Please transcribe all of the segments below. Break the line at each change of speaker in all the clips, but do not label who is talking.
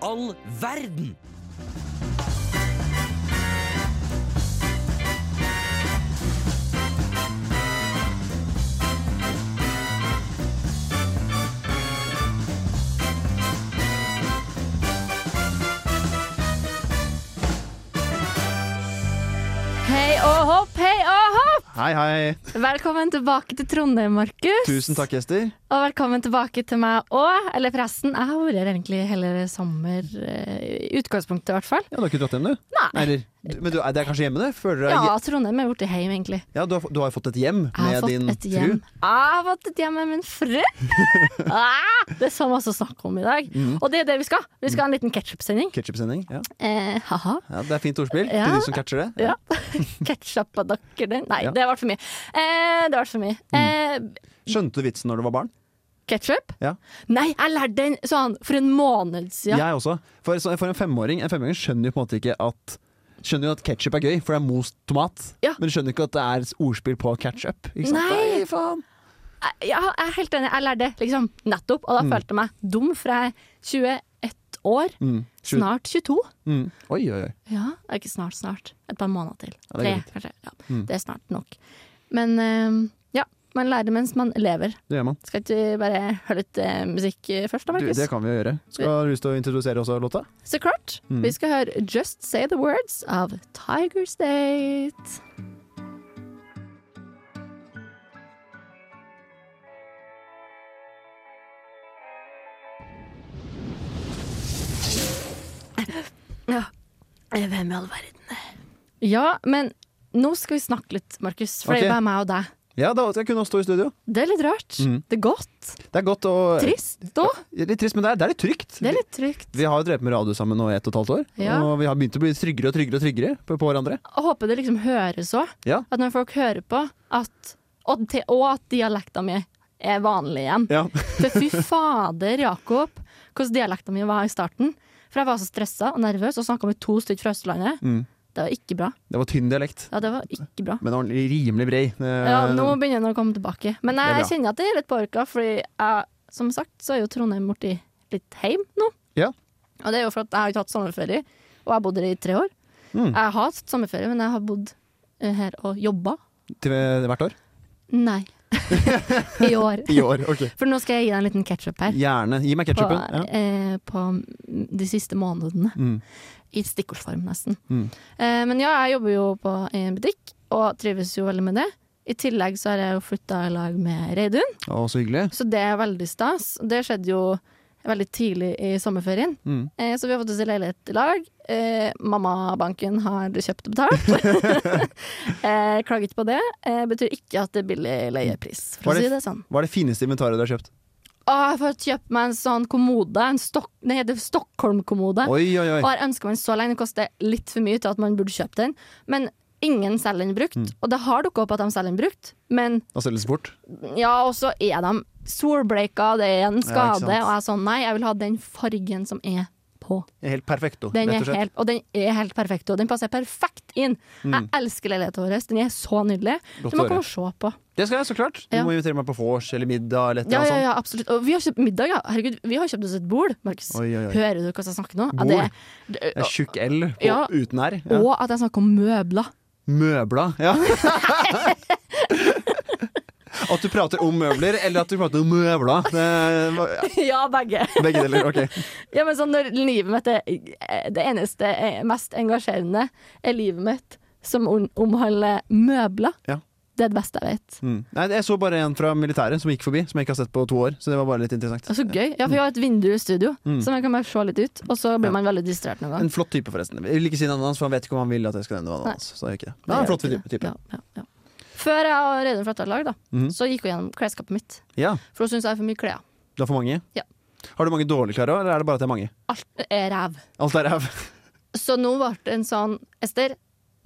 all verden?
Hei og hopp, hei og hopp!
Hei, hei.
Velkommen tilbake til Trondheim, Markus.
Tusen takk, Ester.
Og velkommen tilbake til meg òg, eller pressen. Jeg har vært her egentlig hele sommer, eh, i utgangspunktet i hvert fall.
Ja, du har ikke dratt hjem, du?
Nei.
Eller, du- men du, er- det er kanskje hjemme, det? Føler du deg
Ja, Trondheim er blitt hjem, egentlig.
hje- ja, du, har, få- du har fått et hjem
Jeg har
med din
fått et hjem.
fru?
Jeg har fått et hjem med min fru! Ah, det er så masse å snakke om i dag.
Mm.
Og det er det vi skal. Vi skal ha en liten ketsjup-sending.
Ketchup-sending. Ja.
Eh, haha.
ja, det er fint ordspill
Ja.
til de som catcher det.
Ja. Ketchup og dakker den. Nei,
Ja. Mm.
det ble for mye. Eh, det ble for mye. Eh,
Skjønte du vitsen når du var barn?
Ketsjup?
Ja.
Nei, jeg lærte den sånn for en måned siden.
Jeg også. For, så, for en femåring En femåring skjønner jo på en måte ikke at Skjønner jo at ketchup er gøy, for det er most tomat.
Ja.
Men skjønner ikke at det er ordspill på ketchup. Ikke sant?
Nei.
faen!
Jeg, ja, jeg er helt enig. Jeg lærte det liksom nettopp, og da følte jeg meg dum, for jeg er 21 år.
Mm. Sju-
Snart 22.
Mm. Oi, oi, oi.
Ja, det er ikke snart, snart. Et par måneder til.
Ja, det
Tre,
er greit. Mm.
kanskje. Ja, Det er snart nok. Men eh, ja, man lærer mens man lever.
Det gjør man.
Skal ikke vi bare høre litt eh, musikk eh, først, da,
Du,
Markus?
det kan vi jo gjøre. Skal du lyst til å introdusere også låta?
Så klart. Vi skal høre Just Say The Words av Tiger State. Ja, hvem i all verden? Ja, men nå skal vi snakke litt, Markus. For det
Ok.
er bare meg og deg.
Ja, da skal jeg kunne også stå i studio.
Det er litt rart. Det er godt.
Det er godt og
Trist òg.
Litt trist, men det er, det er litt trygt.
Det er litt trygt.
Vi har jo drevet med radio sammen nå i ett og et halvt år,
Ja.
og vi har begynt å bli tryggere og tryggere og tryggere på, på hverandre.
Jeg håper det liksom høres òg.
Ja.
At når folk hører på, at, og, til, og at dialekta mi er vanlig igjen.
Ja.
For fy fader, Jakob, hvordan dialekta mi var i starten. For jeg var så stressa og nervøs og snakka med to stykker fra Østlandet.
Mm.
Det var ikke bra.
Det var tynn dialekt,
Ja, det var ikke bra.
men ordentlig rimelig brei. Eh,
Ja, nå begynner den å komme tilbake. Men jeg,
Det er bra.
kjenner at jeg er litt påvirka, fordi jeg, som sagt så er jo Trondheim borti litt heim nå.
Ja.
Og det er jo for at jeg har ikke hatt sommerferie, og jeg bodde der i tre år.
Mm.
Jeg har hatt sommerferie, men jeg har bodd eh, her og jobba.
Til eh, hvert år?
Nei. I år.
I år, ok.
For nå skal jeg gi deg en liten ketsjup her.
Gjerne. Gi meg
På,
ketsjupen. Ja.
eh, på de siste månedene.
Mm.
I stikkordsform, nesten.
Mm.
Eh, men ja, jeg jobber jo på en butikk, og trives jo veldig med det. I tillegg så har jeg jo flytta i lag med Reidun,
Å, så hyggelig.
så det er veldig stas. Det skjedde jo veldig tidlig i sommerferien.
Mm.
Eh, så vi har fått oss en leilighet i lag. Eh, Mammabanken har kjøpt og betalt. eh, klager ikke på det. Eh, betyr ikke at det er billig leiepris, for
Var
å
det-
si det sånn.
Hva er det fineste inventaret du har kjøpt?
Å, jeg får kjøpt meg en sånn kommode. En Stok Nei, det er Stockholm-kommode.
Oi, oi, oi.
Og har ønska meg den så lenge. Den koster litt for mye til at man burde kjøpe den. Men ingen selger den
Mm.
brukt. Og det har dukka opp at de selger den brukt, men
Da selges det fort.
ja, og så er de solbleika, det er en
Ja, ikke
skade,
sant.
og jeg er sånn nei, jeg vil ha den fargen som er på.
Helt perfekto,
Den
rett
er
og slett.
helt, og den er helt perfekt, og den passer perfekt inn. Jeg elsker leiligheten vår. Den er så nydelig.
Mm. Godt
du må
å høre.
komme og se på.
Det skal jeg, så klart. Du
Ja.
må invitere meg på vors eller middag eller et
Ja,
eller
ja,
annet
ja, absolutt. Og vi har kjøpt middag, ja. Herregud, vi har kjøpt oss et bord, Markus.
Oi, oi, oi.
Hører du hva jeg snakker nå?
Bord?
Ja, det, det,
sånt. En Tjukk L på,
Ja.
uten R. Ja.
og at jeg snakker om møbler.
Møbla, ja. At du prater om møbler, eller at du prater om møbla. Det var-
ja, begge.
Begge deler, ok.
Ja, men sånn når livet mitt er Det eneste eh, mest engasjerende er livet mitt som om- omhandler møbler.
Ja.
Det er det beste jeg vet.
Mm. Nei, jeg så bare en fra militæret som gikk forbi, som jeg ikke har sett på to år. Så det var bare litt interessant.
Det er så gøy. Ja, for vi har et vindu i studio, så man kan bare se litt ut. Og så blir man veldig distrahert noen gang.
Mm. En flott type, forresten. Jeg vil ikke si navnet hans, for han vet ikke om han vil at jeg skal nevne navnet hans. Så det er ikke det. Men han er en flott
Det gjør
type. Mhm.
ikke det.
type.
Ja, ja, ja. Før jeg og Reidun flytta i lag, da, så gikk hun gjennom klesskapet mitt.
Ja,
For hun syns jeg har for mye klær.
Du har for mange?
Ja.
Har du mange dårlige klær òg, eller er det bare at det er mange?
Alt er ræv.
Alt er ræv.
Så nå ble det en sånn Ester,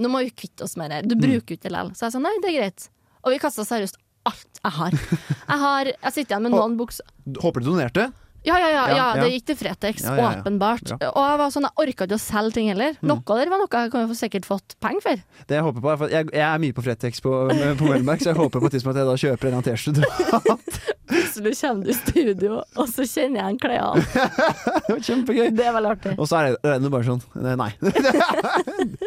nå må vi kvitte oss med det her. Du bruker jo ikke det likevel. Så jeg sa nei, det er greit. Og vi kasta seriøst alt jeg har. Jeg, har, jeg sitter igjen med noen bukser
Håper du donerte?
Ja, ja, ja,
Ja,
ja, det
ja.
gikk til Fretex,
Ja, ja, Mm. ja.
åpenbart. Og jeg var sånn, jeg orka ikke å selge ting heller. Noe av det var noe jeg kunne sikkert fått penger for.
Det jeg håper på er for jeg, jeg er mye på Fretex på, på Mellomberg, så jeg håper på et tidspunkt at jeg da kjøper en eller annen T-skjorte.
Plutselig kommer du i studio, og så kjenner jeg en kle av.
Det var Kjempegøy.
Det er veldig artig.
Og så er det- er det bare sånn Nei. nei.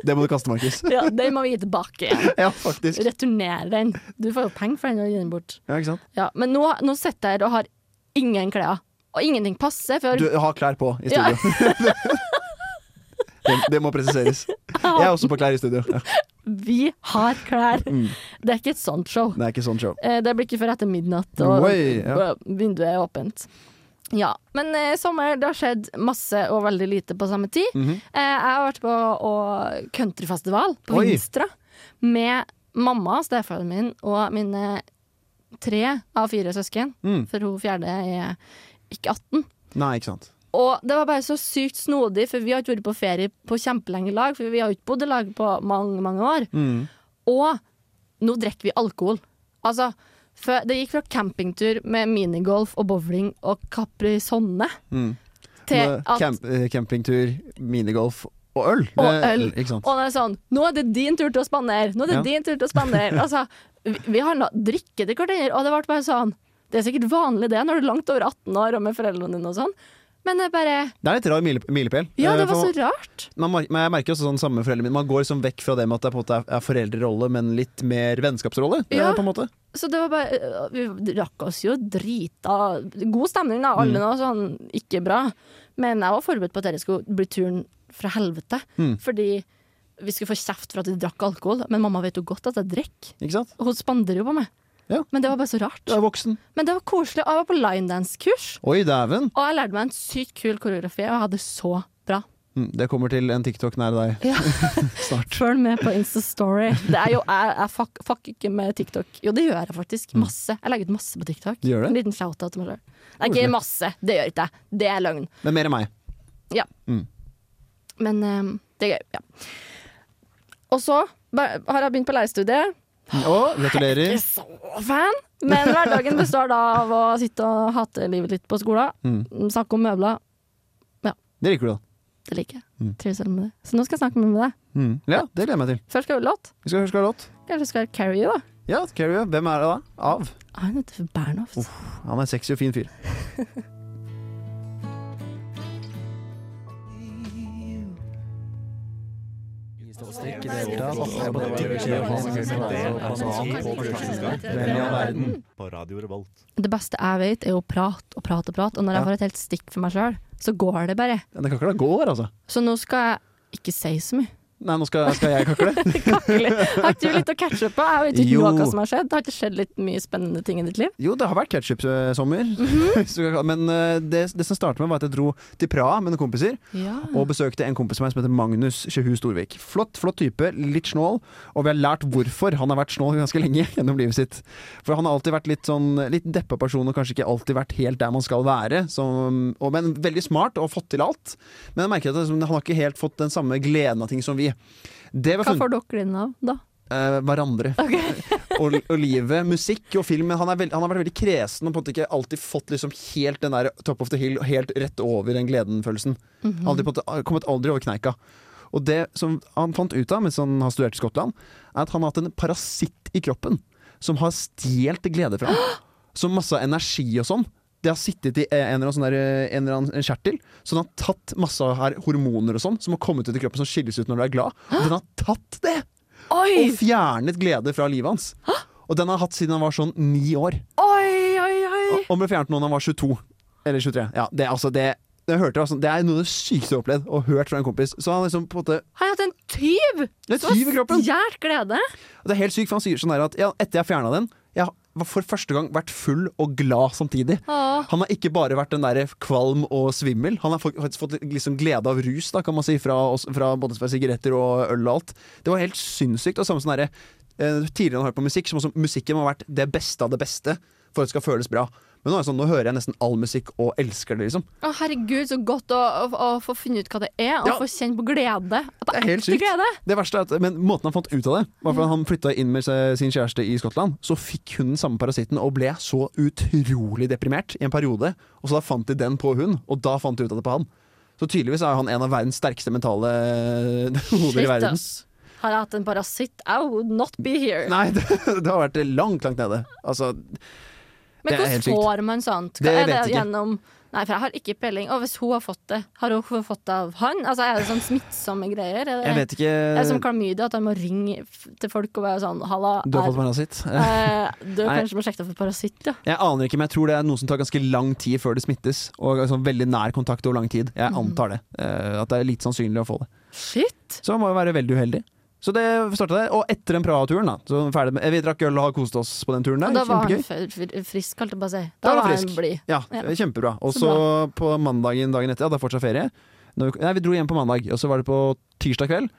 Det må du kaste, Markus.
Ja, den må vi gi tilbake igjen.
Ja, faktisk.
Returnere den. Du får jo penger for den og gi den bort.
Ja, ikke sant?
Ja, men nå, nå sitter jeg her og har ingen klær. Og ingenting passer før
Du har klær på i
Ja.
studio. Det, det må presiseres. Jeg er også på klær i studio. Ja.
vi har klær.
Mm.
Det er ikke et sånt show.
Det er ikke sånn show.
Eh, Det blir ikke før etter midnatt, og
Oi, ja.
vinduet er åpent. Ja, Men eh, sommer, det har skjedd masse og veldig lite på samme tid.
Mm. Mhm.
eh, jeg har vært på å- countryfestival på
Oi.
Vinstra med mamma, stefaren min og mine tre av fire søsken.
Mm.
For hun fjerde er ikke 18.
Nei, ikke sant.
Og det var bare så sykt snodig, for vi har ikke vært på ferie på kjempelenge i lag. For vi har jo ikke bodd i lag på mange, mange år.
Mm.
Og nå drikker vi alkohol. Altså, før- det gikk fra campingtur med minigolf og bowling og Caprisonne
Mm.
til
Nå-
at
Camp, eh, campingtur, minigolf og øl.
Og
Det-
øl.
Ikke sant?
Og det er sånn Nå er det din tur til å spandere! Nå er det
Ja.
din tur til å spandere! Altså, vi, vi har nå drikke til hverandre, og det ble bare sånn Det er sikkert vanlig det når du er langt over 18 år og med foreldrene dine og sånn, men det er bare
Det er litt rar mile- milepæl.
Ja,
Eh,
det var
for-
så rart.
man, mer- men jeg merker også sånn samme foreldre mine. Man går liksom vekk fra det med at det på en måte er, er foreldrerolle, men litt mer vennskapsrolle. eh,
Ja.
På en måte.
Så det var bare øh, Vi rakk oss jo drita God stemning, da. Alle
Mm.
nå sånn ikke bra. Men jeg var forberedt på at dette skulle bli turen fra helvete.
Mm.
Fordi vi skulle få kjeft for at vi drakk alkohol. Men mamma vet jo godt at jeg drikker.
Ikke sant?
Og Hun spanderer jo på meg.
Ja.
Men det var bare så rart.
Du er voksen.
Men det var koselig. Og jeg var på linedance-kurs,
Oi, dæven!
og jeg lærte meg en sykt kul koreografi, og jeg hadde det så bra.
Mm, Det kommer til en TikTok nær deg
Ja.
snart.
Følg med på Insta-story. Det er jo, jeg jeg fuck, fuck ikke med TikTok. Jo, det gjør jeg faktisk. Masse. Jeg legger ut masse på TikTok.
Du Mm. gjør det?
En liten shout-out til meg selv. Nei, ikke masse. Det gjør ikke jeg. Det er løgn.
Men mer enn meg. Mm.
Men eh, det er gøy. Ja. Og så ba- har jeg begynt på leiestudiet.
Mm, Og
Ikke
gratulerer.
så fan, men hverdagen består da av å sitte og hate livet litt på skolen. Snakke om møbler.
Mm, Det liker du, da.
Det liker jeg. Trives veldig med det. Så nå skal jeg snakke mer med deg.
Mm. Ja, det gleder jeg meg til.
Først skal vi ha låt.
Vi skal høre låt.
Kanskje skal jeg carry, da.
Ja, Carrie, hvem er det da? Av.
Han heter Bernhoft.
Han er en sexy og fin fyr.
på Radio Revolt.
Det beste jeg vet, er jo prat og prat og prat. Og når jeg
Ja.
får et helt stikk for meg sjøl, så går det bare.
Den kakla går, altså.
Så nå skal jeg ikke si så mye.
Nei, nå skal, skal jeg kakle.
Kakle. Har ikke du litt å catche opp på? Jeg vet ikke
Jo.
noe som har skjedd. Det har ikke skjedd litt mye spennende ting i ditt liv?
Jo, det har vært ketsjup-sommer. Men eh, det, det som startet med, var at jeg dro til Praha med noen kompiser.
Ja.
Og besøkte en kompis av meg som heter Magnus Kjøhu Storvik. Flott flott type, litt snål, og vi har lært hvorfor han har vært snål ganske lenge gjennom livet sitt. For han har alltid vært litt sånn litt deppa person, og kanskje ikke alltid vært helt der man skal være. Som, og, men veldig smart og fått til alt. Men jeg merker at det, er som- han har ikke helt fått den samme gleden av ting som vi. Det var
Hva
funnet
får dere inn av da?
eh, hverandre. og, og livet, musikk og film. men Han, er veld, han har vært veldig kresen og på en måte ikke alltid fått liksom helt den der top of the hill, helt rett over den gleden-følelsen. Aldri på en måte- Kommet aldri over kneika. Og det som han fant ut av mens han har studert i Skottland, er at han har hatt en parasitt i kroppen som har stjålet glede fra ham. Så masse energi og sånn. Det har sittet i eh, en eller annen, sånn der, eh, en eller annen kjertel. Så den har tatt masse her hormoner og sånn som har kommet ut i kroppen som skilles ut når du er glad. Den har tatt det!
Oi!
og fjernet glede fra livet hans. Og den har han hatt siden han var sånn ni år.
Oi, oi, oi!
Og- Og ble fjernet nå når han var 22. Eller 23. Ja, det, altså, det, det, hørte, jeg, altså, det er noe av det sykeste jeg har opplevd og hørt fra en kompis. Så han liksom på en måte
Har jeg hatt en tyv?
Det er tyv i kroppen!
Stjålet glede?
Og det er helt sykt, for han sier sånn der at ja, etter jeg fjerna den Jeg har for første gang vært full og glad samtidig.
Åh.
Han har ikke bare vært den der kvalm og svimmel. Han har fått- faktisk fått liksom glede av rus, da, kan man si, fra, oss- fra både fra sigaretter og øl og alt. Det var helt sinnssykt. Og samme som derre eh, Tidligere han har hørt på musikk, som også musikken må ha vært det beste av det beste for at det skal føles bra. Men nå, er det sånn, nå hører jeg nesten all musikk og elsker det, liksom.
Å, herregud, så godt å, å, å få funnet ut hva det er, og
Ja.
få kjenne på glede. At det
Det
er
er helt
ekte
sykt.
glede.
Det verste er at, Men måten han fant ut av det, var fordi han flytta inn med se- sin kjæreste i Skottland. Så fikk hun den samme parasitten og ble så utrolig deprimert i en periode. Og så da fant de den på hun, og da fant de ut av det på han. Så tydeligvis er han en av verdens sterkeste mentale hoder i
Shit,
verden.
ass. Har jeg hatt en parasitt, I would not be here.
Nei, det, det har vært langt, langt nede. Altså,
Men
det er
hvordan
helt sykt.
får man sånt? Hva
Det
er
vet
det
jeg ikke.
gjennom Nei, for jeg har ikke peiling. Og hvis hun har fått det, har hun fått det av han? Altså, Er det sånn smittsomme greier? Er det,
jeg vet eh, ikke
er det som klamydia, at han må ringe f- til folk og være sånn Halla,
Du har
er-
fått parasitt?
eh, du har
Nei.
kanskje må sjekke deg for parasitt, ja.
Jeg aner ikke, men jeg tror det er noe som tar ganske lang tid før det smittes. Og altså, veldig nær kontakt over lang tid. Jeg
Mhm.
antar det. eh, at det er lite sannsynlig å få det.
Shit!
Så han må jo være veldig uheldig. Så det starta det. Og etter den Praha-turen, da. Så ferdig med, Eh, vi drakk øl og har kost oss på den turen der.
og da var
Kjempegøy.
han fri- fri- frisk, holdt jeg på å si.
Da
Da
var
var
han
han
frisk.
blid.
Ja,
Ja.
kjempebra. Og
Så
så på mandagen dagen etter, ja, det er fortsatt ferie. Når vi, nei, vi dro hjem på mandag, og så var det på tirsdag kveld.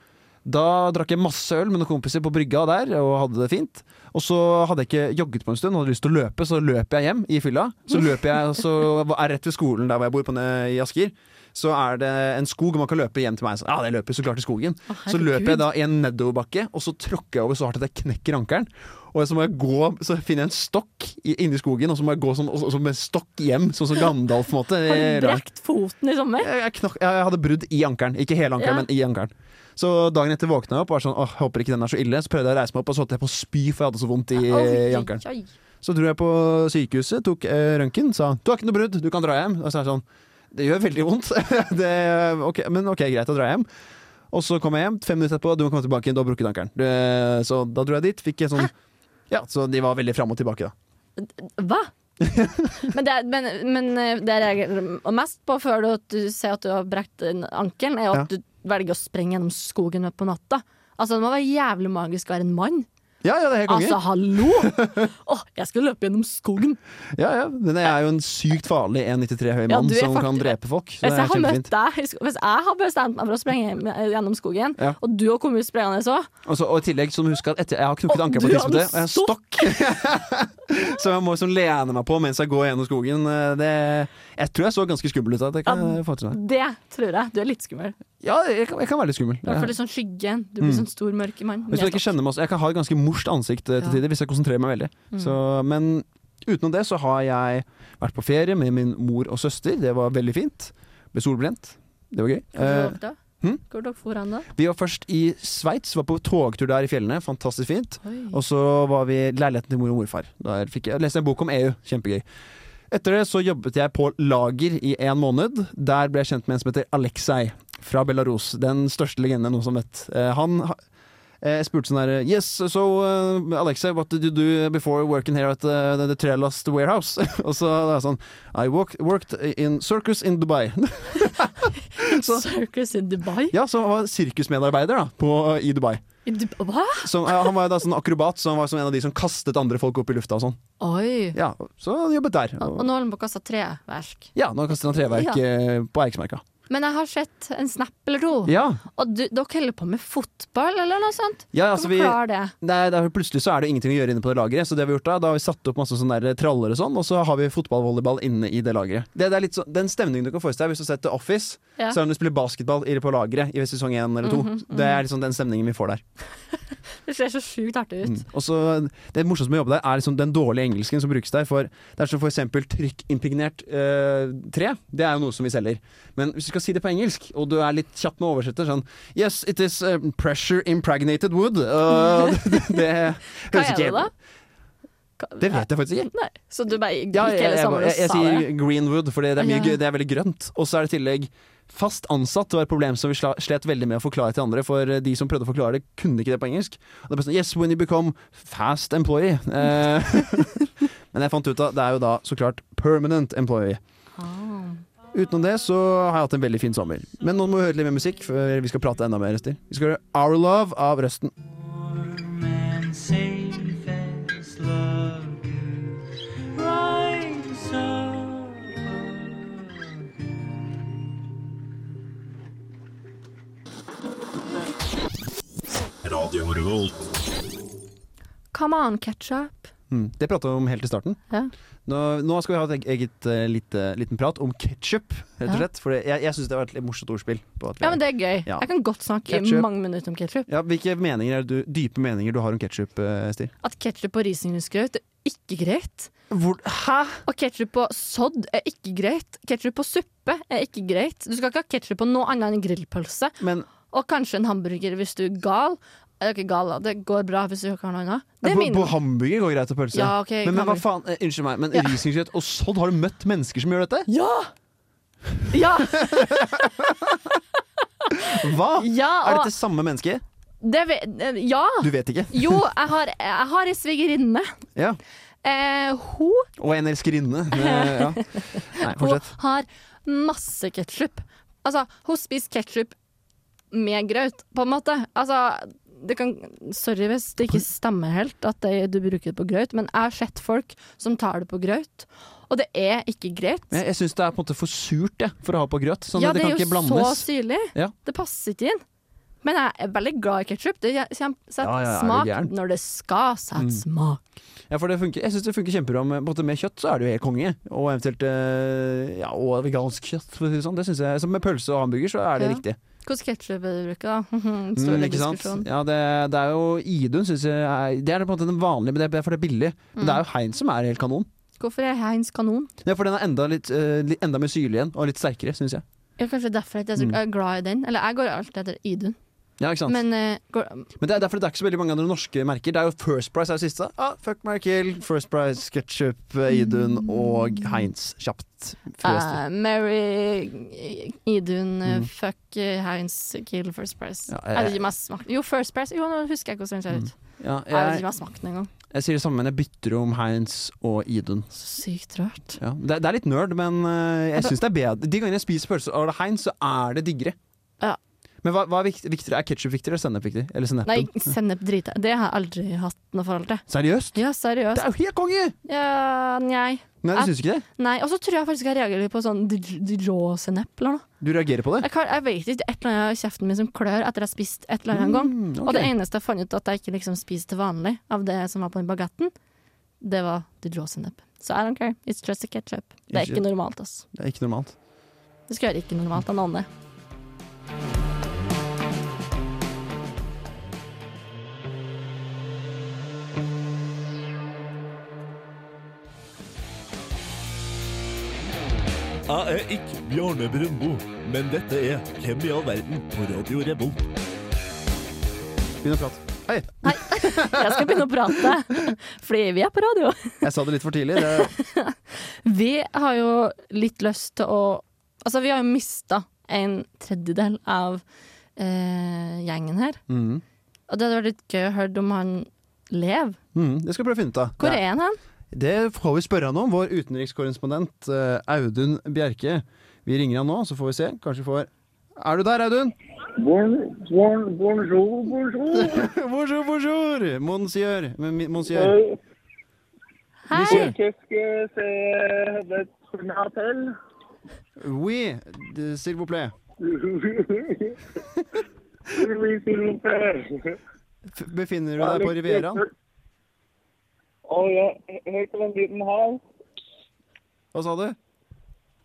Da drakk jeg masse øl med noen kompiser på brygga der og hadde det fint. Og så hadde jeg ikke jogget på en stund og hadde lyst til å løpe, så løper jeg hjem i fylla. Så løper jeg, og så er rett ved skolen der hvor jeg bor, på, nede i Asker. Så er det en skog, og man kan løpe hjem til meg. Så, ja, det løper jeg så klart i skogen.
Å,
Så løper jeg
herregud.
da i en nedoverbakke, og så tråkker jeg over så hardt at jeg knekker ankelen. Og så må jeg gå, så finner jeg en stokk i- inni skogen, og så må jeg gå sånn, og så, og så med stokk hjem, sånn som Gandalf, på en måte.
Har du
Det er rart.
brekt foten i sommer?
Jeg, jeg, knakk- jeg hadde brudd i ankelen. Ikke hele
Ja.
ankelen, men i ankelen. Så dagen etter våkna jeg opp og var sånn, åh, håper ikke den er så ille. Så prøvde jeg å reise meg opp, og så holdt jeg på å spy, for jeg hadde så vondt i, i
Oi,
ankelen.
oi, oi.
Så dro jeg på sykehuset, tok eh, røntgen, sa du har ikke noe brudd, du kan dra hjem. Og så er jeg sånn, det gjør veldig vondt, det, ok, men ok, greit å dra hjem. Og så kom jeg hjem, fem minutter etterpå, du må komme tilbake, du har brukket ankeren. Du, eh, Så da dro jeg dit, fikk jeg sånn, ja, så de var veldig frem og tilbake da.
Hva? men, det, er- men, men eh, det jeg reagerer mest på før du, at du ser at du har brekt en ankelen, er jo at du velger å sprenge gjennom skogen på natta. Altså, Det må være jævlig magisk å være en mann.
Ja, ja, det er helt konge.
Altså, hallo! Åh, jeg skal løpe gjennom skogen.
Ja, ja, men jeg er jo en sykt farlig 1,93
Altså.
høy
Ja,
mann
du er
som kan
faktisk-
drepe folk.
Hvis
Så det
jeg
er
har møtt
kjempefint.
deg, i sko- hvis jeg har bestemt meg for å sprenge eh, gjennom skogen,
Ja.
og du har kommet ut sprengende så
Og, så, Altså, og i tillegg, så må du huske at etter, jeg har knukket
Å,
ankeren
du
på et
har en
tidspunkt, og jeg har stokk. så jeg må liksom lene meg på mens jeg går gjennom skogen. Eh, Det, jeg tror jeg så ganske skummel ut da, det kan
Ja,
jeg få til meg.
Det tror jeg. Du er litt skummel.
Ja, jeg kan, jeg kan være litt skummel.
I hvert fall litt sånn skyggen. Du blir sånn stor, mørk mann.
Mm. Hvis du ikke kjenner meg også- Jeg kan ha et ganske morst ansikt eh,
Ja.
til
Mm.
tider hvis jeg konsentrerer meg veldig. Så, men utenom det så har jeg vært på ferie med min mor og søster. Det var veldig fint. Ble solbrent. Det var gøy. Eh,
Hvor dere
hm?
for hen da?
vi var først i Sveits, var på togtur der i fjellene. Fantastisk fint.
Oi.
Og så var vi i leiligheten til mor og morfar. Der fikk jeg, leste jeg en bok om EU. Kjempegøy. Etter det så jobbet jeg på lager i en måned. Der ble jeg kjent med en som heter Aleksej fra Belarus. Den største legenden noen som vet. Eh, han ha- eh, jeg spurte sånn her Yes, so uh, Aleksej, what did you do before working here at uh, the, the Trelast warehouse? Og så er det sånn I walk, worked in circus in Dubai. så-
Circus in Dubai?
ja, så han var sirkusmedarbeider da, på, i Dubai.
I Dub- Hva?
Så, ja, han var da sånn akrobat, så han var som en av de som kastet andre folk opp i lufta og sånn.
Oi.
Ja, så han jobbet der.
Og nå holder han på å kaste treverk.
Ja, nå kaster han treverk
Ja.
eh, på Eiksmerka.
Men jeg har sett en snap eller to.
Ja,
Og du, dere holder på med fotball eller noe sånt?
ja
Kan
altså
du
vi
forklare det?
Nei, det er, plutselig så er det jo ingenting å gjøre inne på det lageret, så det har vi gjort da. Da har vi satt opp masse sånne der traller og sånn, og så har vi fotball-volleyball inne i det lageret. Det, det er litt sånn, den stemningen du kan forestille deg hvis du har sett The Office,
Ja. Mhm,
så er det når du spiller basketball i- på lageret i sesong én eller to. Det er liksom den stemningen vi får der.
Det ser så sjukt artig ut.
Og så Det morsomste med å jobbe der, er liksom den dårlige engelsken som brukes der. For det er som for eksempel trykkimpregnert eh, tre. Det er jo noe som vi selger. Men hvis du skal si det på engelsk, og du er litt kjapp med å oversette sånn Yes, it is eh, pressure impregnated wood. Eh, det, det
Hva er
høres ikke
det, da? Hva-
Det vet jeg faktisk ikke.
Nei. Så du bare gikk
Ja, jeg,
hele
jeg,
sommeren
jeg,
og
jeg
sa det?
sier Greenwood, for det er, mye,
Ja.
gøy- det er veldig grønt. Og så er det i tillegg fast ansatt var et problem som vi sla- slet veldig med å forklare til andre. For eh, de som prøvde å forklare det, kunne ikke det på engelsk. Og det ble sånn Yes, when you become fast employee. Eh, men jeg fant ut av det er jo da så klart permanent employee.
Ah.
Utenom det så har jeg hatt en veldig fin sommer. Men nå må vi høre litt mer musikk før vi skal prate enda mer røster. Vi skal høre Our Love av Røsten.
warm and safe as love can rise above.
Radio Revolt.
Come on, ketchup.
Mm. Det prata vi om helt i starten.
Ja.
Nå, nå skal vi ha et eg- eget eh, lite, liten prat om ketsjup, rett og
Ja.
slett. For det- jeg, jeg syns det var et litt morsomt ordspill. På at vi
Ja,
har-
men det er gøy.
Ja.
Jeg kan godt snakke i
Ketchup.
mange minutter om ketsjup.
ja, hvilke meninger er det du, dype meninger du har om eh, ketsjup, Stil?
At ketsjup og risengrynsgrøt er ikke greit.
Hæ?!
Og ketsjup på sodd er ikke greit. Ketsjup på suppe er ikke greit. Du skal ikke ha ketsjup på noe annet enn grillpølse.
Men
Og kanskje en hamburger hvis du er gal. Jeg er ikke gal, da. Det går bra hvis du ikke har noe annet. Det er
på,
min.
på hamburger går greit og pølse.
Ja, ok,
men, men hva
hamburger.
faen, eh, unnskyld meg, men
Ja.
risengrynsgrøt og sodd, har du møtt mennesker som gjør dette?
Ja! Ja!
Hva?!
ja
Er
og
dette samme menneske?
det ve- Ja!
Du vet ikke.
Jo, jeg har, jeg har ei svigerinne.
Ja.
Eh, hun
Og en elskerinne. Eh, Ja. Nei,
Hun
fortsett.
har masse ketsjup. Altså, hun spiser ketsjup med grøt, på en måte. Altså, det kan Sorry hvis det ikke stemmer helt at det, du bruker det på grøt, men jeg har sett folk som tar det på grøt, og det er ikke greit.
Jeg, jeg syns det er på en måte for surt jeg, for å ha på grøt. Sånn,
ja,
det,
det,
kan
er
ikke
jo så
blandes.
syrlig.
Ja.
Det passer ikke inn. Men jeg er veldig glad i ketsjup. Det setter
Ja, ja, er Mm. du
smak
gæren?
når det skal sette smak.
Ja, for det funker, jeg syns det funker kjempebra med, både med kjøtt, så er det jo helt konge. Og eventuelt eh, ja, og vegansk kjøtt, for å si det sånn. Det synes jeg, som med pølse og hamburger, så er det
Ja.
riktig.
Hvordan ketsjup er det du bruker, da? Stor
Mm, ikke sant?
diskusjon.
Ja, det, det er jo Idun, syns jeg er, Det er på en måte den vanlige, men det er for det er billig. Men
Mm.
det er jo Hein som er helt kanon.
Hvorfor er Heinz kanon?
Det er for den er enda, litt, eh, litt- enda mer syrlig igjen, og litt sterkere, syns jeg.
Ja, kanskje derfor at jeg er så glad i den. Eller jeg går alltid etter Idun.
Mm. Ja, ikke sant? Men,
Men eh, går,
det er derfor det er ikke så veldig mange andre norske merker. Det er jo First Price er jo siste. Ah, fuck Mary Kill, First Price, Ketchup, Idun
Mm.
og Heinz. Kjapt. Frøst.
eh, Mary Idun eh, Fuck eh, Heinz Kill First Price.
Mm. Ja,
jeg,
jeg-
vet ikke om jeg har smakt Jo, First Price. Jo, nå husker jeg hvordan den ser ut.
Ja,
Jeg vet
jeg,
ikke om jeg har smakt den engang.
jeg sier det samme, men jeg bytter om Heinz og Idun.
Så sykt rart.
Ja, det, er- det er litt nerd, men eh, jeg
Ja,
synes det er bedre. De gangene jeg spiser pølser av Heinz, så er det diggere.
Ja.
Men hva, hva er vikt- viktigere? Er ketsjup viktigere eller sennep viktig? Eller sennepen?
Nei, sennep driter jeg Det har jeg aldri hatt noe forhold til.
Seriøst?
Ja,
Det
seriøst.
er jo helt konge!
Ja, nei.
Nei,
Ja.
du syns ikke det?
nei. Og så tror jeg faktisk jeg reagerer litt på sånn Dijon-sennep eller noe.
Du reagerer på det?
Jeg, kan, jeg vet ikke. Det er et eller annet i kjeften min som klør etter jeg har spist et eller annet en gang.
Mm, ok.
Og det eneste jeg fant ut at jeg ikke liksom spiser til vanlig av det som var på den bagetten, det var Dijon-sennep. Så I don't care. It's just a ketchup. Det er
Ikke-
ikke normalt, ass.
Det er ikke normalt.
Det skal være ikke normalt av noen.
Jeg er ikke Bjarne Brøndbo, men dette er Hvem i all verden på Radio Revolt.
Begynn å prate. Hei!
Jeg skal begynne å prate, fordi vi er på radio.
Jeg sa det litt for tidlig. Det,
Vi har jo litt lyst til å Altså, vi har jo mista en tredjedel av eh, gjengen her.
mm,
Og det hadde vært litt gøy å høre om han lever.
mm, det skal vi prøve å finne ut av.
Hvor
Det-
er han hen?
Det får vi spørre han om. Vår utenrikskorrespondent eh, Audun Bjerke. Vi ringer han nå, så får vi se. Kanskje vi får Er du der, Audun?
Bon, bon, bonjour, bonjour.
Bonjour, bonjour! Monsieur. Men mi- Monsieur.
Euh,
Hei!
Qu'est-ce que c'est votre appel
Oui, de- s'il vous plaît.
Oui, s'il vous plaît.
F befinner du deg på Rivieraen?
Å ja, helt om en liten hal.
Hva sa du?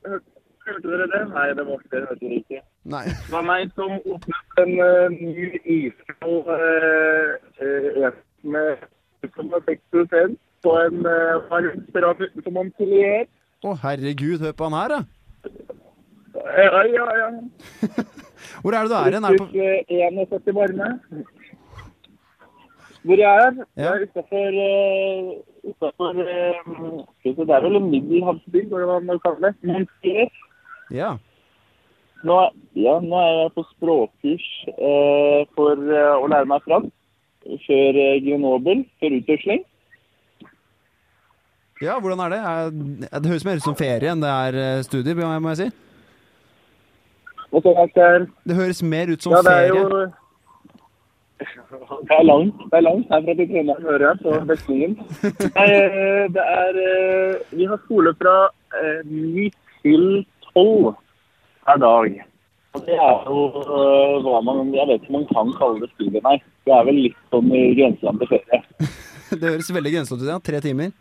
Hørte dere det? Nei, det var ikke det. Hørte dere ikke.
Nei.
Det var meg som åpnet en eh, ny iskald eh, eh, med 6,6 på en eh, varm restaurant utenfor Montpellier.
Å herregud, hør på han her, da.
Ja, ja, ja.
Hvor er det du er hen? Er du på
Pluss, eh, 71 varme. Hvor jeg er?
Ja.
Jeg er utafor Utafor eh, Det er vel en middelhavsby, eller hva man kaller det. Montier.
Ja.
Nå, ja, nå er jeg på språkkurs eh, for eh, å lære meg fransk. Før eh, Grenoble, før utveksling.
ja, hvordan er det? Er, det høres mer ut som ferie enn det er eh, studie, må jeg- må jeg si.
Og sånn at det er
Det høres mer ut som
Ja, det er
ferie.
jo Det er langt. Det er langt herfra til Trondheim, hører jeg, på vekslingen. Nei, eh, det er eh, Vi har skole fra eh, ni til tolv hver dag. Og det er jo eh, hva man Jeg vet ikke om man kan kalle det studie, nei. Det er vel litt sånn i grenseland til ferie.
Det høres veldig grenseløst ut. Ja. Tre timer.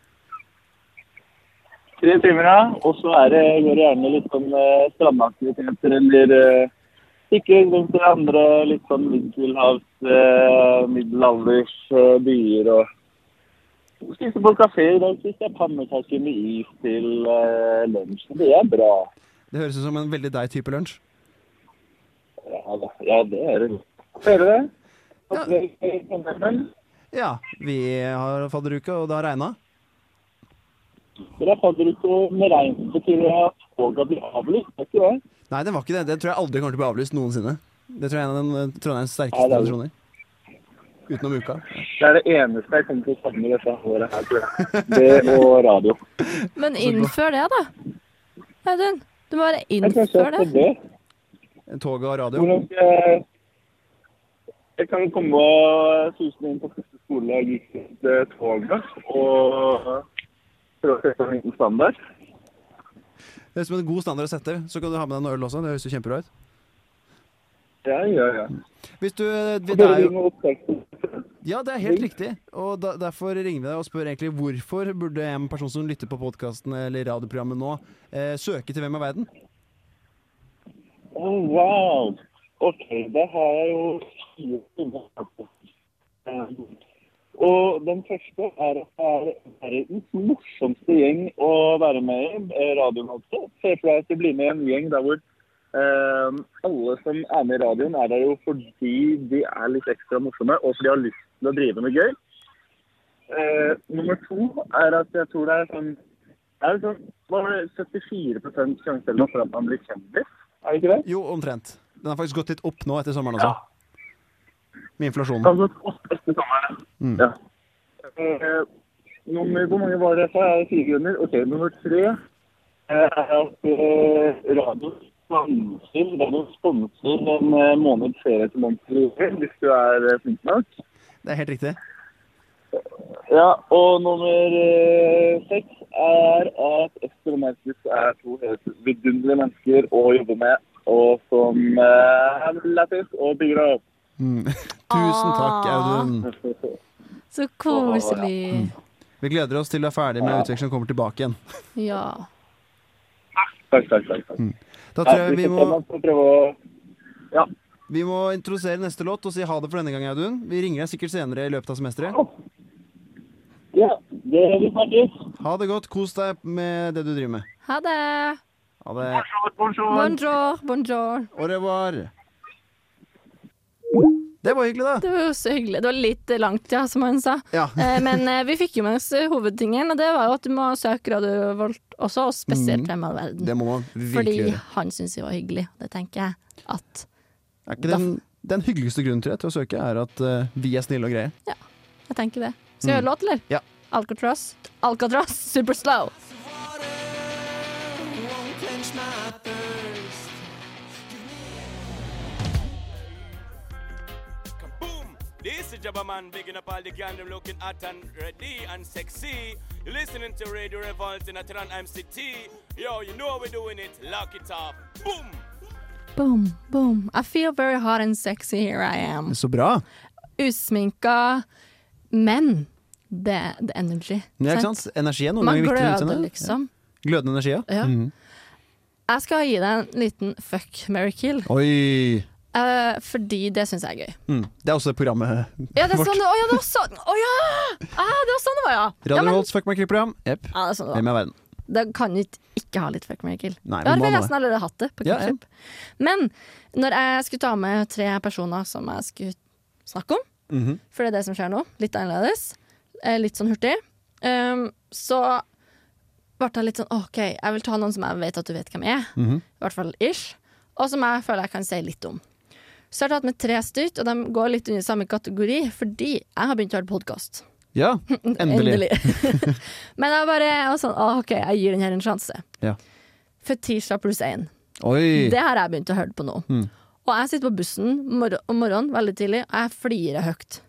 Tre timer, ja. Og så er det, går det gjerne litt sånn eh, strandaktiviteter eller eh, sykling rundt hverandre. Litt sånn middelhavs, eh, middelalders eh, byer og Spise på kafé i dag. Spiste jeg pannekaker med is til eh, lunsj. Det er bra.
Det høres ut som en veldig deg type lunsj.
Ja, da. ja det er det. Hører du det? Opplegg i Trondheimen.
Ja, vi har fadderuke, og det har regna.
Dere har fadderuke og med regn betyr det at toga blir avlyst, vet du det?
Nei, det var ikke det. Det tror jeg aldri kommer til å bli avlyst noensinne. Det tror jeg er en av den, eh, Trondheims sterkeste
Ja, det er det.
tradisjoner. Utenom uka.
Det er det eneste jeg kommer til å savne dette året her, tror jeg. Det og radio.
Men innfør det, da. Audun. Du må bare
Jeg kan se
innføre
på
det.
det.
Toget og radio.
Hvordan skal jeg Jeg kan komme og suse inn på første skole jeg gikk til toget, og prøve å sette en liten standard.
Det er som en god standard å sette. Så kan du ha med deg en øl også. Det høres jo kjempebra ut.
Ja, ja, ja.
Hvis du, eh, vi, det
Dere
er jo,
vil med opptakten.
ja, det er helt riktig. Og da, derfor ringer vi deg og spør egentlig hvorfor burde en person som lytter på podkasten eller radioprogrammet nå, eh, søke til Hvem er verden?
Å, Oh, wow! OK, da har jeg jo fire timer. her på. Eh, Og den første er at det er verdens morsomste gjeng å være med i, eh, radioen altså. Se for deg at du blir med i en gjeng der hvor eh, alle som er med i radioen, er der jo fordi de er litt ekstra morsomme, og fordi de har lyst til å drive med gøy. Eh, nummer to er at jeg tror det er sånn det er sånn, Var det 74 sjanse eller noe for at man blir kjendis? Er det ikke det?
Jo, omtrent. Den har faktisk gått litt opp nå etter sommeren også. Med inflasjonen.
Altså, åtte etter sommeren. Ja. Eh, nummer, hvor mange var det jeg sa? Jeg er Fire grunner. Ok, nummer tre eh, er at eh, radio sponser, radio sponser en eh, måned ferie til Montreal hvis du er eh, flink nok.
Det er helt riktig.
Ja, og nummer eh, seks er at Esther og Markus er to helt vidunderlige mennesker å jobbe med, og som eh, er lættis og bygger deg opp.
Tusen takk,
Ah.
Audun.
Så koselig.
Vi gleder oss til du er ferdig med utveksling og kommer tilbake igjen.
Ja.
Takk, takk, takk. takk.
Da tror
Ja,
jeg
vi
vi
får
må
komme oss og prøve å Ja.
Vi må introdusere neste låt og si ha det for denne gang, Audun. Vi ringer deg sikkert senere i løpet av semesteret.
Ja, det er vi snakkes.
Ha det godt. Kos deg med det du driver med.
Ha det.
Ha det.
Bonjour, bonjour.
Og det var Det var hyggelig, da.
Det var jo så hyggelig. Det var litt langt, ja, som han sa.
Ja.
Eh, Men eh, vi fikk jo med oss hovedtingen, og det var jo at du må søke Radio Volt også, og spesielt Hvem er verden.
Det må man virkelig
Fordi
gjøre.
han syntes vi var hyggelig. Det tenker jeg at
Er ikke den, den hyggeligste grunnen tror jeg, til å søke er at eh, vi er snille og greie.
Jeg tenker det. Skal vi høre låt, eller?
Mm. Ja.
Alcatraz. Alcatraz, super slow.
Kaboom! This is Jabba Man bigging up all the gang them looking hot and ready and sexy. You're listening to Radio Revolt in Atran MCT. Yo, you know how we're doing it. Lock it up. Boom!
Boom, boom. I feel very hot and sexy here I am.
Så bra.
Usminka, men the, the energy.
Ja, ikke sant? Energi er noe
Man
viktig.
gløder, liksom.
Glødende energi, sånn, ja. Mm.
Ja. Jeg skal gi deg en liten fuck, marry, kill,
Oi.
eh, fordi det syns jeg er gøy.
Mm. Det er også det programmet
Ja, det er
vårt.
sånn det, å, ja, det var sånn Å ja! Ah, det var sånn det var, ja. ja,
Radio
men,
Volts Fuck My Creep-program. Jepp.
ja, det er sånn det var.
Hvem er verden?
Da kan vi ikke- ikke ha litt fuck, marry, kill.
Nei,
da
vi må
hadde vi
ha
nesten allerede hatt det. på
Ja, ja.
Quickship. Men når jeg skulle ta med tre personer som jeg skulle snakke om,
Mhm.
for det er det som skjer nå, litt annerledes, eh, litt sånn hurtig, ehm, så ble jeg litt sånn OK, jeg vil ta noen som jeg vet at du vet hvem er,
Mhm.
i hvert fall ish, og som jeg føler jeg kan si litt om. Så jeg har tatt med tre styrt, og de går litt under samme kategori, fordi jeg har begynt å høre podkast.
Ja, endelig.
Men jeg bare jeg var sånn, «Åh, OK, jeg gir den her en sjanse.
Ja.
For tirsdag pluss én.
Oi.
Det har jeg begynt å høre på nå.
Mm.
Og jeg sitter på bussen mor om morgenen veldig tidlig, og jeg flirer høyt.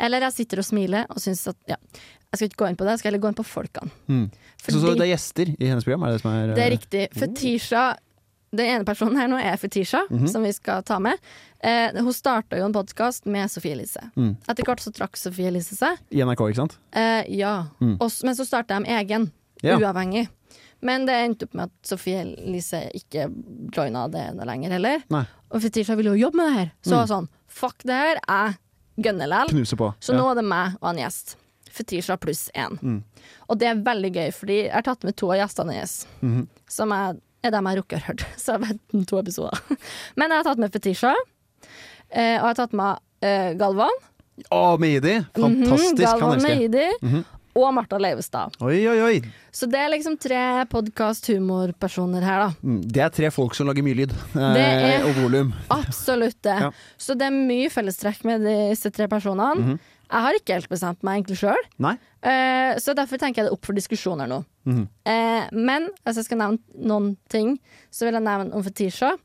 Eller jeg sitter og smiler og syns at ja, Jeg skal ikke gå inn på det, jeg skal heller gå inn på folkene.
Mm. Så, så
Fordi-
det er gjester i hennes program? Er det, det som er,
det er
eh,
riktig. Fetisha Den ene personen her nå er Fetisha,
Mhm.
som vi skal ta med. Eh, hun starta jo en podkast med Sofie Elise.
Mm.
Etter hvert så trakk Sofie Elise seg.
I NRK, ikke sant?
Eh, ja. Og s- men så starta de egen,
Ja.
uavhengig. Men det endte opp med at Sofie Elise ikke joina det noe lenger heller.
Nei.
Og Fetisha ville jo jobbe med det her, så var sånn Fuck det her, jeg gønner lell.
Knuse på.
Så nå er det meg og en gjest. Fetisha pluss én. Og det er veldig gøy, fordi jeg har tatt med to av gjestene hennes. Som er, er dem jeg rukker å høre. Så jeg vet to episoder. Men jeg har tatt med Fetisha. eh, Og jeg har tatt med eh, Galvan.
Ja. Å, Mehidi! Fantastisk.
Mhm,
Han
Galvan
elsker jeg. Mhm.
Meidi. Og Martha Leivestad.
Oi, oi, oi.
Så det er liksom tre podkast-humorpersoner her, da.
Mm, Det er tre folk som lager mye lyd.
er-
Eh, og volum.
Absolutt det.
Ja.
Så det er mye fellestrekk med disse tre personene.
Mhm.
Jeg har ikke helt bestemt meg egentlig sjøl.
Nei?
Eh, Så derfor tenker jeg det er opp for diskusjoner nå.
Mhm.
Eh, men hvis jeg skal nevne noen ting, så vil jeg nevne om Fetisha.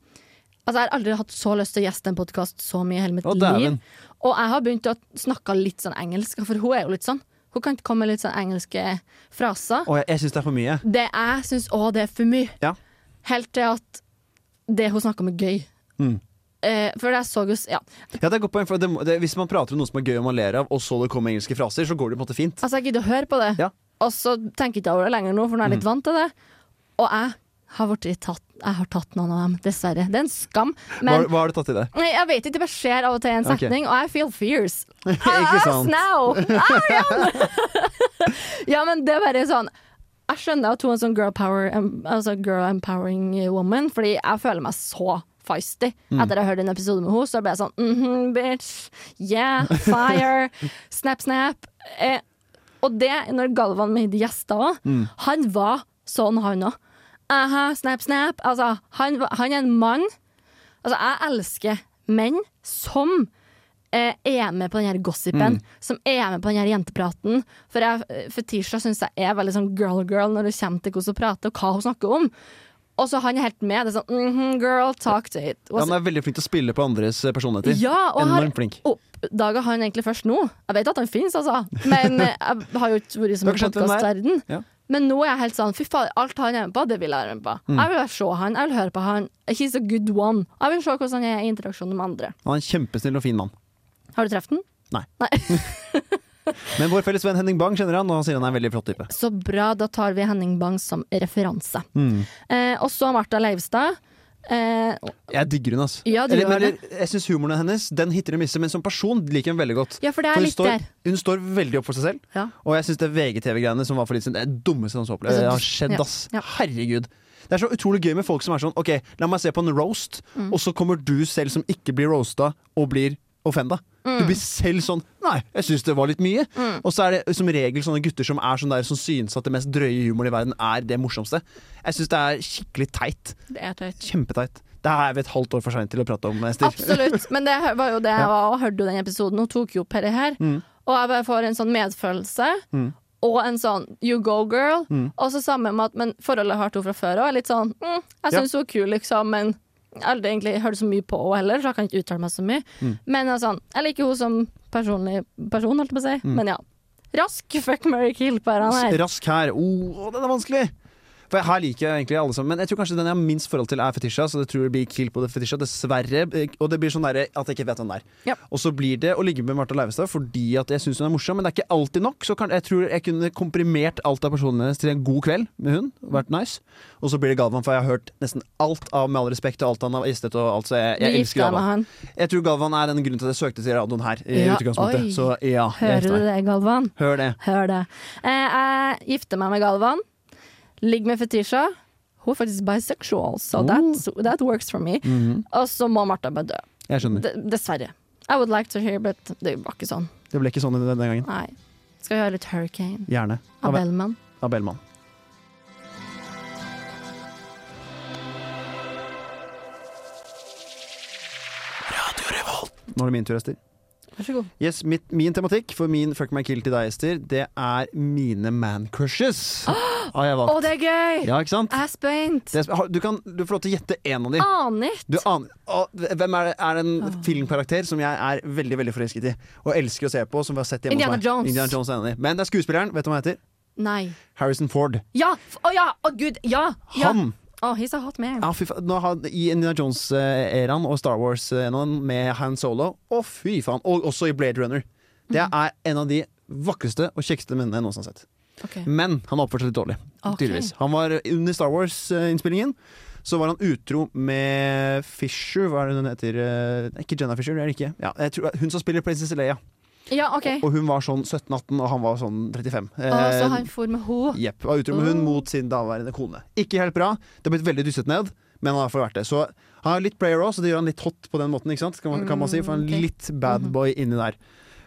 Altså, jeg har aldri hatt så lyst til å gjeste en podkast så mye i hele mitt
Å,
liv.
dæven.
Og jeg har begynt å snakke litt sånn engelsk, for hun er jo litt sånn. Hun kan komme med litt sånn engelske fraser.
Å, jeg, jeg syns det er for mye.
Det jeg syns òg det er for mye.
Ja.
Helt til at det hun snakker om, er gøy.
Mm.
Eh, for jeg så jo s- Ja.
Ja, det er et godt poeng, for det, må- det, Hvis man prater om noe som er gøy og man ler av, og så det kommer engelske fraser, så går det på en måte fint.
Altså, jeg gidder å høre på det.
Ja. Mm.
Og så tenker jeg ikke over det lenger nå, for nå er jeg litt vant til det. Og jeg har, vært tatt, jeg har tatt noen av dem, dessverre. Det er en skam.
Hva,
Men
hva har du tatt i det?
Nei, jeg vet ikke, det bare skjer av og til i en
Ok.
setning, og I feel fierce.
Ikke sant?
Now! Arian! ja, men det er bare sånn Jeg skjønner at hun er en sånn girl, power, em- altså girl empowering woman, fordi jeg føler meg så feisty
Mm.
etter jeg hørte en episode med henne. Så ble jeg sånn mhm, bitch. Yeah, fire. snap, snap. Eh, og det, når Galvan Mehidi gjesta òg, han var sånn, han òg. Aha, snap, snap. Altså, han, var- han er en mann. Altså, jeg elsker menn som eh, er med på den her gossipen, som er med på den her jentepraten. For jeg, Fetisha syns jeg er veldig sånn girl-girl når det kommer til hvordan hun prater, og hva hun snakker om. Og så han er helt med. Det er sånn mhm, girl, talk to it.
Ja, han er veldig flink til å spille på andres eh, personligheter.
Ja, og har
Enormt flink.
oppdaga han egentlig først nå. Jeg vet at han fins, altså, men eh, jeg har jo ikke vært som
Du
en
har ikke skjønt hvem det er?
podkastverden.
Ja.
Men nå er jeg helt sånn Fy faen, alt han er med på, det vil jeg være med på.
Mm.
Jeg vil se han, jeg vil høre på han. He's a good one. Jeg vil se hvordan han er i interaksjon med andre.
Han er en kjempesnill og fin mann.
Har du truffet den?
Nei.
Nei.
Men vår felles venn Henning Bang kjenner han, og han sier han er en veldig flott type.
Så bra, da tar vi Henning Bang som referanse.
Mm.
Eh, og så Martha Leivstad. Eh,
Jeg digger hun, ass.
Ja, du
eller,
gjør
men, eller, jeg syns humoren hennes den hitter og misser, men som person liker jeg hun veldig godt.
ja, for det er
hun,
litt
står,
der.
hun står veldig opp for seg selv,
Ja.
og jeg syns det VGTV-greiene som var for litt siden, det er det dummeste
Altså,
som
du-
har skjedd,
ja,
ass.
ja.
Herregud. Det er så utrolig gøy med folk som er sånn OK, la meg se på en roast,
Mm.
og så kommer du selv som ikke blir roasta, og blir offenda.
Mm.
Du blir selv sånn Nei, jeg syns det var litt mye. Og så er det som regel sånne gutter som er sånn der som synes at det mest drøye humoren i verden er det morsomste. Jeg syns det er skikkelig teit.
Det er tøyt.
Kjempeteit. Det her er vi et halvt år for seint til å prate om, Ester.
Absolutt. Men det var jo det jeg var, og hørte jo den episoden. Hun tok jo opp dette her.
Mm.
Og jeg bare får en sånn medfølelse. Og en sånn you go, girl.
Mm.
Og så samme med at Men forholdet har til henne fra før òg. Litt sånn mm, Jeg
Ja.
syns hun er kul, liksom, men jeg har aldri egentlig hørt så mye på henne heller, så jeg kan ikke uttale meg så mye.
Mm.
Men jeg, er sånn, jeg liker henne som personlig person, holdt jeg på å si. Men ja. Rask fuck Mary Kill på denne her.
Mm. Rask her. Å, å, den er vanskelig! For her liker jeg egentlig alle sammen, men jeg tror kanskje den jeg har minst forhold til, er Fetisha. Så det tror jeg blir kill på det Fetisha, dessverre. Og det blir sånn der at jeg ikke vet hvem det er.
Ja.
Og så blir det å ligge med Martha Leivestad fordi at jeg syns hun er morsom, men det er ikke alltid nok. Så kan, jeg tror jeg kunne komprimert alt av personene hennes til en god kveld med hun. Vært nice. Og så blir det Galvan, for jeg har hørt nesten alt av Med all respekt og alt han har gjestet og alt, så jeg,
Du
jeg
gifter deg
elsker
med
Galvan.
han.
Jeg tror Galvan er en grunn til at jeg søkte til radioen her. i
Ja,
utgangspunktet
oi.
Så ja, jeg
Hører
gifter
du
meg.
det, Galvan?
Hør det.
Hør det. Eh, jeg gifter meg med Galvan. Ligger med Fetisha. Hun er faktisk bisexual,
Oh.
so that's, that works for me.
Mhm.
Og så må Martha bare dø.
Jeg skjønner.
D dessverre. I would like to hear, but det var ikke sånn.
Det ble ikke sånn denne gangen.
Nei. Skal vi høre litt Hurricane
Gjerne.
av
Av,
Bellman?
av Bellman. Nå er det min tur, Ester.
Vær så god.
Yes, mitt, min tematikk for min Fuck my kill til deg, Ester, det er mine mancrushes. Har jeg
Å,
valgt.
det er gøy!
Ja, ikke sant?
Jeg er Ah! spent.
Det, er- har- du, kan, du får lov til å gjette én av de.
Aner ikke.
Du aner, å, hvem er det? Er det
Ah.
en filmkarakter som jeg er veldig veldig forelsket i og elsker å se på? Som vi har sett hjemme
Indiana
hos meg.
Jones.
Indiana Jones er en av de. Men det er skuespilleren. Vet du hva han heter?
Nei.
Harrison Ford.
Ja! F- Å ja! Å gud! Ja! ja.
Han
Å Oh, he's a hot man.
Ja, fy faen. Nå har, I Indiana Jones-æraen og Star Wars-æraen med Han Solo, å fy faen! Og også i Blade Runner. Det
Mm.
er en av de vakreste og kjekkeste mennene jeg noensinne har sett.
Ok.
Men han har oppført seg litt dårlig.
Ok.
Tydeligvis. Han var Under Star Wars-innspillingen så var han utro med Fisher, hva er det hun heter? Eh, Ikke Jenna Fisher, det er det ikke. Ja, jeg tror, hun som spiller prinsesse Leia.
Ja, OK.
Og hun var sånn 17-18, og han var sånn 35.
Ah, så
Eh,
han for med henne.
Jepp. Var utro med hun mot sin daværende kone. Ikke helt bra. Det har blitt veldig dysset ned, men han har fått vært det. Så han har litt player også, så det gjør han litt hot på den måten, ikke sant? Kan man, kan man si. For han
Mm, ok. Mhm.
er litt bad boy inni der.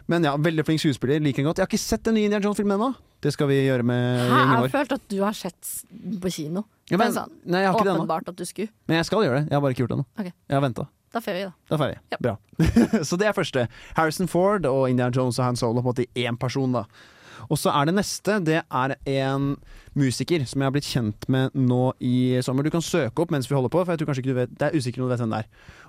Men ja, veldig flink skuespiller. Liker han godt. Jeg har ikke sett den nye Indiana Jones-filmen ennå. Det skal vi gjøre med
Hæ?
gjengen
Jeg
vår.
følte at du har sett s- på kino.
Ja,
men,
men-
sånn,
nei, jeg har ikke det ennå.
åpenbart at du skulle.
Men jeg skal gjøre det. Jeg har bare ikke gjort det ennå.
Ok.
Jeg har venta.
Da får vi det.
Da er ferdig. Bra. så det er første. Harrison Ford og Indiana Jones og Han Solo på en måte i én person, da. Og så er det neste. Det er en musiker som jeg har blitt kjent med nå i sommer. Du kan søke opp mens vi holder på, for jeg tror kanskje ikke du vet Det er usikker om du vet hvem det er.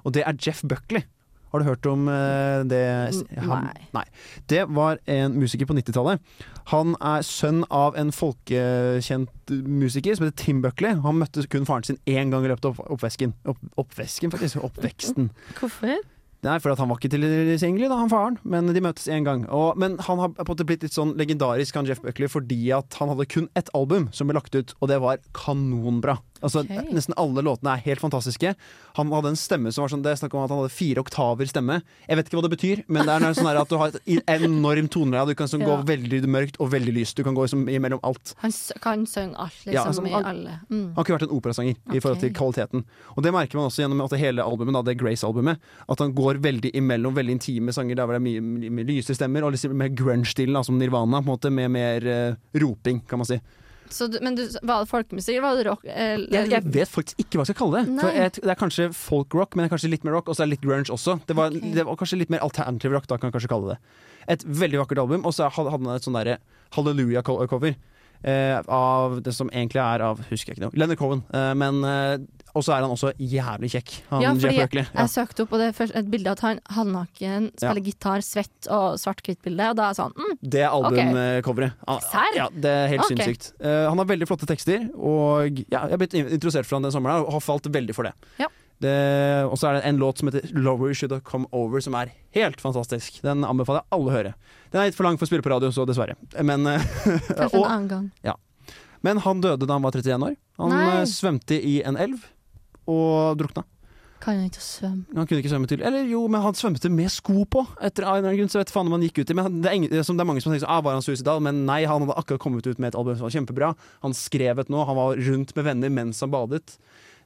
Og det er Jeff Buckley. Har du hørt om eh, det?
N- nei.
nei. Det var en musiker på 90-tallet. Han er sønn av en folkekjent musiker som heter Tim Buckley. Han møtte kun faren sin én gang i løpet av opp- oppvesken. Opp, oppvesken, faktisk. Oppveksten.
Hvorfor?
Nei, for at han var ikke tilgjengelig, da, han faren. Men de møtes én gang. Og, men han har på en måte blitt litt sånn legendarisk, han Jeff Buckley, fordi at han hadde kun ett album som ble lagt ut, og det var kanonbra. Altså,
Ok.
Nesten alle låtene er helt fantastiske. Han hadde en stemme som var sånn Det er snakk om at han hadde fire oktaver stemme. Jeg vet ikke hva det betyr, men det er noe sånn her at du har et enormt toneleie. Du kan sånn gå
Ja.
veldig mørkt og veldig lyst. Du kan gå som, imellom alt.
Han s- kan synge alt, liksom,
Ja, altså,
i
han-
alle. Mm.
Han kunne vært en operasanger i forhold til
Ok.
kvaliteten. Og det merker man også gjennom at det hele albumet, da, det Grace-albumet, at han går veldig imellom veldig intime sanger der hvor det er mye, mye, mye lyse stemmer, og liksom mer grunge-stilen, da, som Nirvana, på en måte, med mer eh, roping, kan man si.
Så, du- men du, var det folkemusikk, eller var det rock? Eller,
Jeg, jeg vet faktisk ikke hva jeg skal kalle det. For
Nei.
jeg, t- det er kanskje folk-rock, men det er kanskje litt mer rock, og så er det litt grunge også. Det var, det var kanskje litt mer alternativ rock, da kan jeg kanskje kalle det. Et veldig vakkert album, og så hadde han et sånn derre Hallelujah-cover. Eh, av det som egentlig er av Husker jeg ikke noe. Leonard Cohen. Eh, men eh, Og så er han også jævlig kjekk. Han
ja,
Jeff
fordi jeg,
Buckley. Ja.
jeg søkte opp og det er først et bilde av at han halvnaken spiller gitar, svett og svart-hvitt bilde, og da er jeg sånn mm,
Det albumcoveret. Ah,
Serr?
Ja, det er helt
Ok.
sinnssykt. Eh, han har veldig flotte tekster, og ja, jeg har blitt interessert for han den sommeren her, og har falt veldig for det.
Ja.
Det- og så er det en låt som heter 'Lover Should Have Come Over', som er helt fantastisk. Den anbefaler jeg alle å høre. Den er litt for lang for å spille på radio, så dessverre. Men, eh,
kanskje en
og,
annen gang.
men han døde da han var 31 år. Han
Nei.
eh, svømte i en elv og drukna.
Kan han ikke svømme?
Han kunne ikke svømme til Eller jo, men han svømte med sko på! Etter av en eller annen grunn, så vet faen om han gikk ut i Men han- det er, ingen, som det er mange som tenker sånn ah, Var han suicidal? Men nei, han hadde akkurat kommet ut med et album som var kjempebra. Han skrev et nå, han var rundt med venner mens han badet.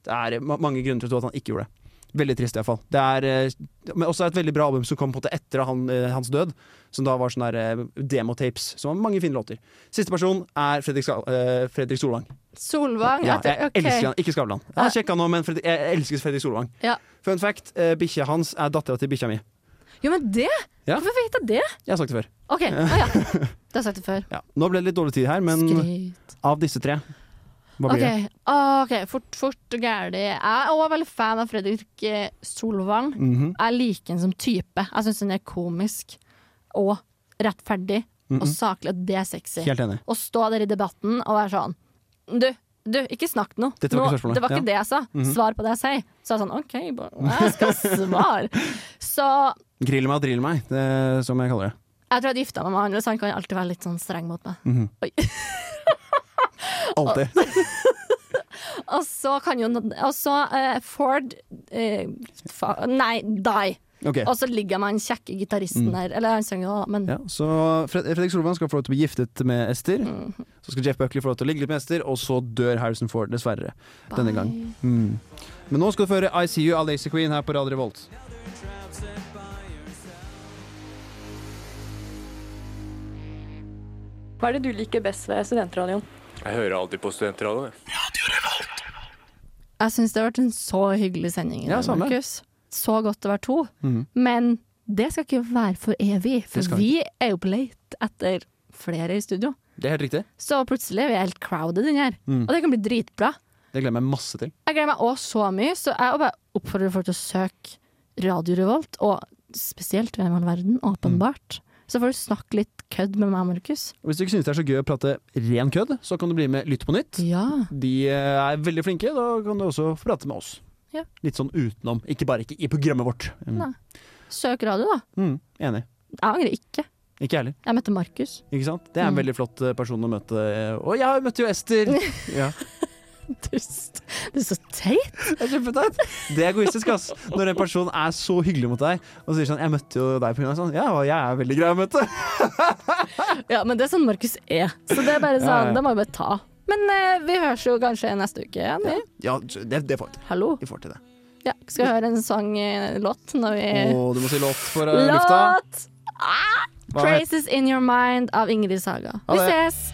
Det er ma mange grunner til å tro at han ikke gjorde det. Veldig trist, iallfall. Det er eh, men også et veldig bra album som kom på en måte etter han, eh, hans død, som da var sånne der, eh, demotapes. Som var mange fine låter. Siste person er Fredrik, Skal eh, Fredrik Solvang.
Solvang?
Ja,
etter,
jeg
ok.
elsker han, ikke Skavlan. Jeg har sjekka nå, men Fredrik, jeg elsker Fredrik Solvang.
Ja.
Fun fact, eh, bikkja hans er dattera til bikkja mi.
Jo, men det?
Ja.
Hvorfor vet jeg det?
Jeg har sagt det før.
OK, å ja. Det har jeg sagt det før.
Ja. Nå ble det litt dårlig tid her, men
Skryt.
av disse tre Hva blir
Ok, ah, ok, fort, fort og gærlig Jeg er også veldig fan av Fredrik eh, Solvang
Mhm.
Jeg liker han som type Jeg synes han er komisk Og rettferdig Og saklig, og det er sexy
det? Mhm. Helt enig.
Å stå der i debatten og være sånn Du, du, ikke snakk nå
Dette var
nå,
ikke spørsmålet.
Det var ikke
Ja. Mhm.
det jeg sa Svar på det jeg sier Så er jeg sånn, ok, bare, jeg skal svare Så
Grill meg og drill meg, det, er som jeg kaller det.
jeg tror jeg hadde gifta meg med han Så han kan alltid være litt sånn streng mot meg
Mhm. Alltid.
Og så kan jo Og så eh, Ford eh, fa, Nei, die.
Ok.
Og så ligger man den kjekke gitaristen der. Eller han synger jo, da, men
Mm. Ja, så Fred Fredrik Solvang skal få lov til å bli giftet med Ester. Så skal Jeff Buckley få lov til å ligge litt med Ester, og så dør Harrison Ford, dessverre. Denne gang. Mm. Men nå skal du få høre I See You av Lazy Queen her på Radio Revolt.
Hva er det du liker best ved studentradioen?
Jeg hører alltid på studentradioen. jeg.
jeg syns det har vært en så hyggelig sending. i
Ja,
dag,
samme. Mm.
Markus. Så godt å være to. Men det skal ikke være for evig,
Det
for
skal
vi er jo på leit etter flere i studio.
Det er helt riktig.
Så plutselig er vi helt crowded inn her,
Mm.
og det kan bli dritbra.
Det gleder jeg meg masse til.
Jeg gleder meg òg så mye, så jeg bare
Mm.
oppfordrer folk til å søke Radio Revolt, og spesielt Hvem i all verden, åpenbart. Så får du snakke litt kødd med meg og Markus.
Og Hvis du ikke synes det er så gøy å prate ren kødd, så kan du bli med Lytt på nytt.
Ja.
De eh, er veldig flinke, da kan du også få prate med oss.
Ja.
Litt sånn utenom, ikke bare ikke i programmet vårt. Mm.
Nei. Søk radio, da.
Mm, enig.
Jeg angrer ikke.
Ikke jeg heller.
Jeg møtte Markus.
Ikke sant? Det er en
Mm.
veldig flott eh, person å møte. eh, Og jeg møtte jo Ester! ja.
Dust. Du er så teit.
Det er kjempeteit! Det er egoistisk, ass. Når en person er så hyggelig mot deg og sier sånn 'Jeg møtte jo deg på grunn av sånn', ja, og jeg er veldig grei å møte.
Ja, men det er sånn Markus er. Så det er bare sånn,
Ja, ja.
det må vi bare ta. Men eh, vi høres jo kanskje neste uke igjen. vi.
Ja, det, det får vi til.
Hallo.
Vi får til det.
Ja, skal vi høre en sang, eh, låt, når vi
Og du må si låt for eh, lufta.
Låt!
Hva er-
Crazes In Your Mind av Ingrid Saga.
Ha
Vi
det.
ses!